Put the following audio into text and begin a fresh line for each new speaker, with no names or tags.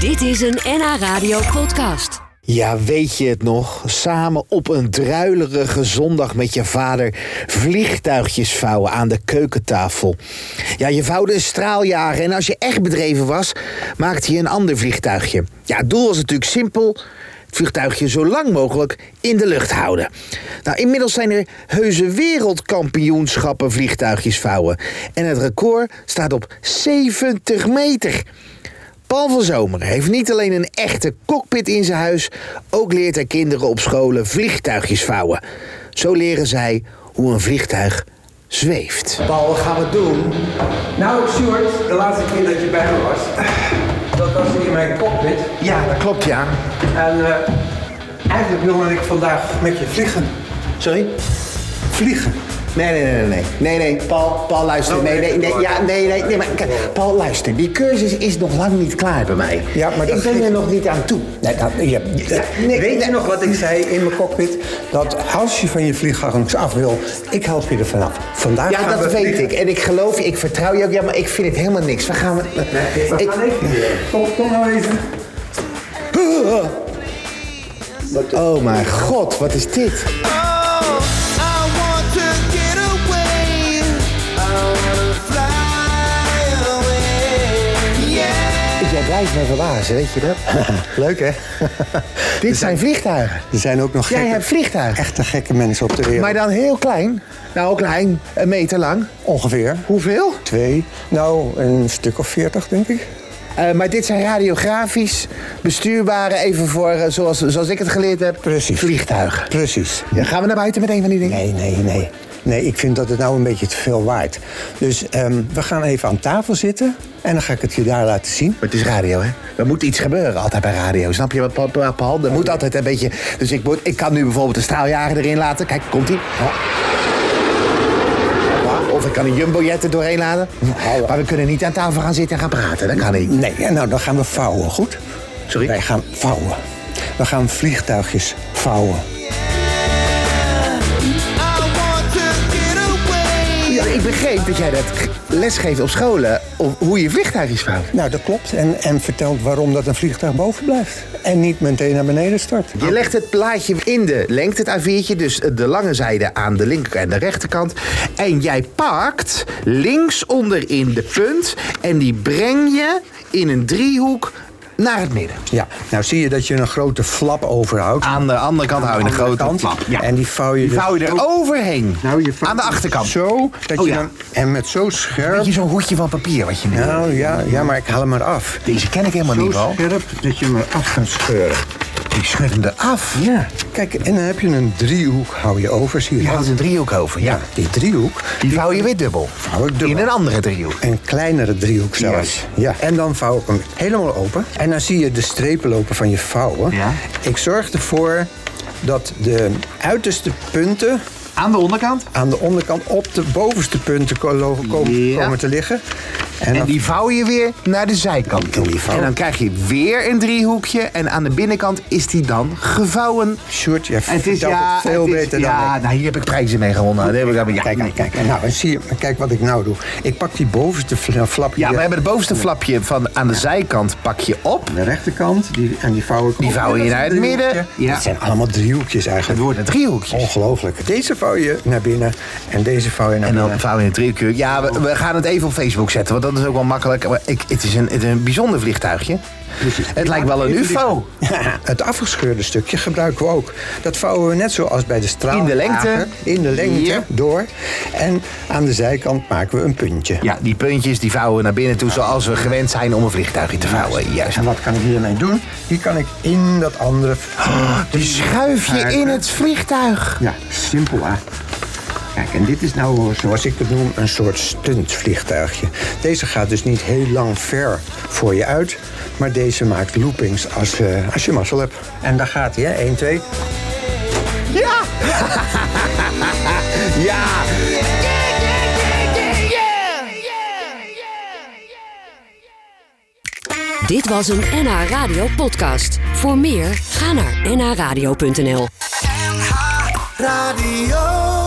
Dit is een NH Radio podcast.
Ja, weet je het nog? Samen op een druilerige zondag met je vader vliegtuigjes vouwen aan de keukentafel. Ja, je vouwde een straaljager en als je echt bedreven was, maakte je een ander vliegtuigje. Ja, het doel was natuurlijk simpel. Het vliegtuigje zo lang mogelijk in de lucht houden. Nou, inmiddels zijn er heuse wereldkampioenschappen vliegtuigjes vouwen. En het record staat op 70 meter. Paul van Zomeren heeft niet alleen een echte cockpit in zijn huis, ook leert hij kinderen op scholen vliegtuigjes vouwen. Zo leren zij hoe een vliegtuig zweeft.
Paul, wat gaan we doen?
Nou, Stuart, de laatste keer dat je bij me was, dat was in mijn cockpit.
Ja, dat klopt ja.
En eh, eigenlijk wilde ik vandaag met je vliegen.
Sorry?
Vliegen.
Nee, nee, nee, nee, nee. Nee, nee, Paul, Paul luister.
Oh,
Nee,
nee,
nee, nee. Ja, nee, nee, nee. Maar kijk, Paul, luister. Die cursus is nog lang niet klaar bij mij.
Ja, maar dat
Ik ben er
geeft-
nog niet aan toe.
Nee, dat, je, eh,
nee,
weet
nee.
je nog wat ik zei in mijn cockpit? Dat als je van je vlieggangs af wil, ik help je er vanaf. Vandaag
Ja,
gaan
dat
we
weet
vliegen.
ik. En ik geloof je, ik vertrouw je ook. Ja, maar ik vind het helemaal niks. We gaan... We
Wat
ik,
gaan even weer? Kom, kom nou even.
oh mijn god, wat is dit?
Oh, I want to get away. I wanna fly away. Yeah.
Jij blijft me verbazen, weet je dat?
Leuk, hè?
Dit zijn vliegtuigen.
Er zijn ook nog
Jij
gekke,
hebt vliegtuigen.
echte gekke mensen op de wereld.
Maar dan heel klein. Nou, klein. Een meter lang.
Ongeveer.
Hoeveel?
Twee. Nou, een stuk of veertig, denk ik.
Eh, maar dit zijn radiografisch bestuurbare, even voor, eh, zoals, zoals ik het geleerd heb,
Precies.
vliegtuigen.
Precies.
Ja, gaan we naar buiten met een van die dingen?
Nee, nee, nee. Nee, ik vind dat het nou een beetje te veel waard. Dus ehm, we gaan even aan tafel zitten en dan ga ik het je daar laten zien.
Maar het is radio, hè? Er moet iets gebeuren altijd bij radio. Snap je wat, Pa- Pa- Paul? Er moet altijd een beetje... Dus ik, moet, ik kan nu bijvoorbeeld een straaljager erin laten. Kijk, komt-ie. Ja. Of ik kan een jumbojet er doorheen laden. Maar we kunnen niet aan tafel gaan zitten en gaan praten. Dat kan niet.
Nee, nou dan gaan we vouwen, goed?
Sorry?
Wij gaan vouwen. We gaan vliegtuigjes vouwen.
I want to get away.
Ja, ik begreep dat jij dat lesgeeft op scholen... om hoe je vliegtuigjes vouwt.
Nou, dat klopt. En, en vertelt waarom dat een vliegtuig boven blijft. En niet meteen naar beneden stort.
Je legt het plaatje in de lengte, het A4'tje, dus de lange zijde aan de linker en de rechterkant. En jij pakt links onderin de punt en die breng je in een driehoek naar het midden.
Ja, nou zie je dat je een grote flap overhoudt.
Aan de andere kant hou je een
Aan de
grote
kant.
flap. ja.
En die vouw je,
Die vouw je
dus
er
zo-
overheen.
Nou, je vouwt
aan de achterkant.
Zo, dat
Oh,
je
ja.
dan, en met zo
Weet
scherp...
je zo'n hoedje van papier wat je nu hebt?
Nou ja, ja, maar ik haal hem eraf.
Deze ken ik helemaal niet wel.
scherp dat je hem eraf gaat scheuren.
Ik schud hem eraf.
Ja, kijk, en dan heb je een driehoek, hou je over, zie je
Je
dat?
houdt een driehoek over, ja.
Die driehoek,
Die vouw je weer dubbel.
Vouw ik dubbel.
In een andere driehoek.
een kleinere driehoek zelfs.
Yes.
Ja. En dan vouw ik hem helemaal open. En dan zie je de strepen lopen van je vouwen.
Ja.
Ik zorg ervoor dat de uiterste punten
Aan de onderkant.
aan de onderkant op de bovenste punten ko- lo- komen,
Ja.
komen te liggen. En,
En
dan-
die vouw je weer naar de zijkant toe.
En die vouw-
En dan krijg je weer een driehoekje. En aan de binnenkant is die dan gevouwen.
Sjoerd, jij
En het is,
vertelt
ja,
het veel
het is-
beter dan
ja,
ik.
nou, hier heb ik prijzen mee gewonnen. Dat heb ik, allemaal- ja,
Kijk, kijk, kijk. En nou, en zie je, kijk wat ik nou doe. Ik pak die bovenste fla- flap
Ja,
hier
we hebben het bovenste flapje van aan de zijkant pak je op.
aan de rechterkant. Die, en die vouw ik
Die
op.
vouw
Ja,
je
dat
naar
is
het
een
midden.
driehoekje.
Ja.
Het zijn allemaal driehoekjes
Het
eigenlijk.
worden driehoekjes.
Ongelooflijk. Deze vouw je naar binnen en deze vouw je naar
En dan
binnen.
vouw je een driehoekje. Ja, we, we gaan het even op Facebook zetten, want dat is ook wel makkelijk. Maar ik, het, is een, het is een bijzonder vliegtuigje. Het lijkt wel een ufo.
Ja, het afgescheurde stukje gebruiken we ook. Dat vouwen we net zoals bij de straal.
In de lengte.
In de lengte,
Ja.
door. En aan de zijkant maken we een puntje.
Ja, die puntjes die vouwen we naar binnen toe zoals we gewend zijn om een vliegtuigje te vouwen. Nou, eh, Juist.
En wat kan ik hiermee doen? Hier kan ik in dat andere...
Oh, Die schuif je in het vliegtuig.
Ja, simpel hè. Kijk, en dit is nou, zoals ik het noem, een soort stuntvliegtuigje. Deze gaat dus niet heel lang ver voor je uit. Maar deze maakt loopings als, eh, als je mazzel hebt. En daar gaat hij, hè. 1, 2.
Ja! ja!
Dit was een NH Radio podcast. Voor meer, ga naar nhradio.nl.
Radio.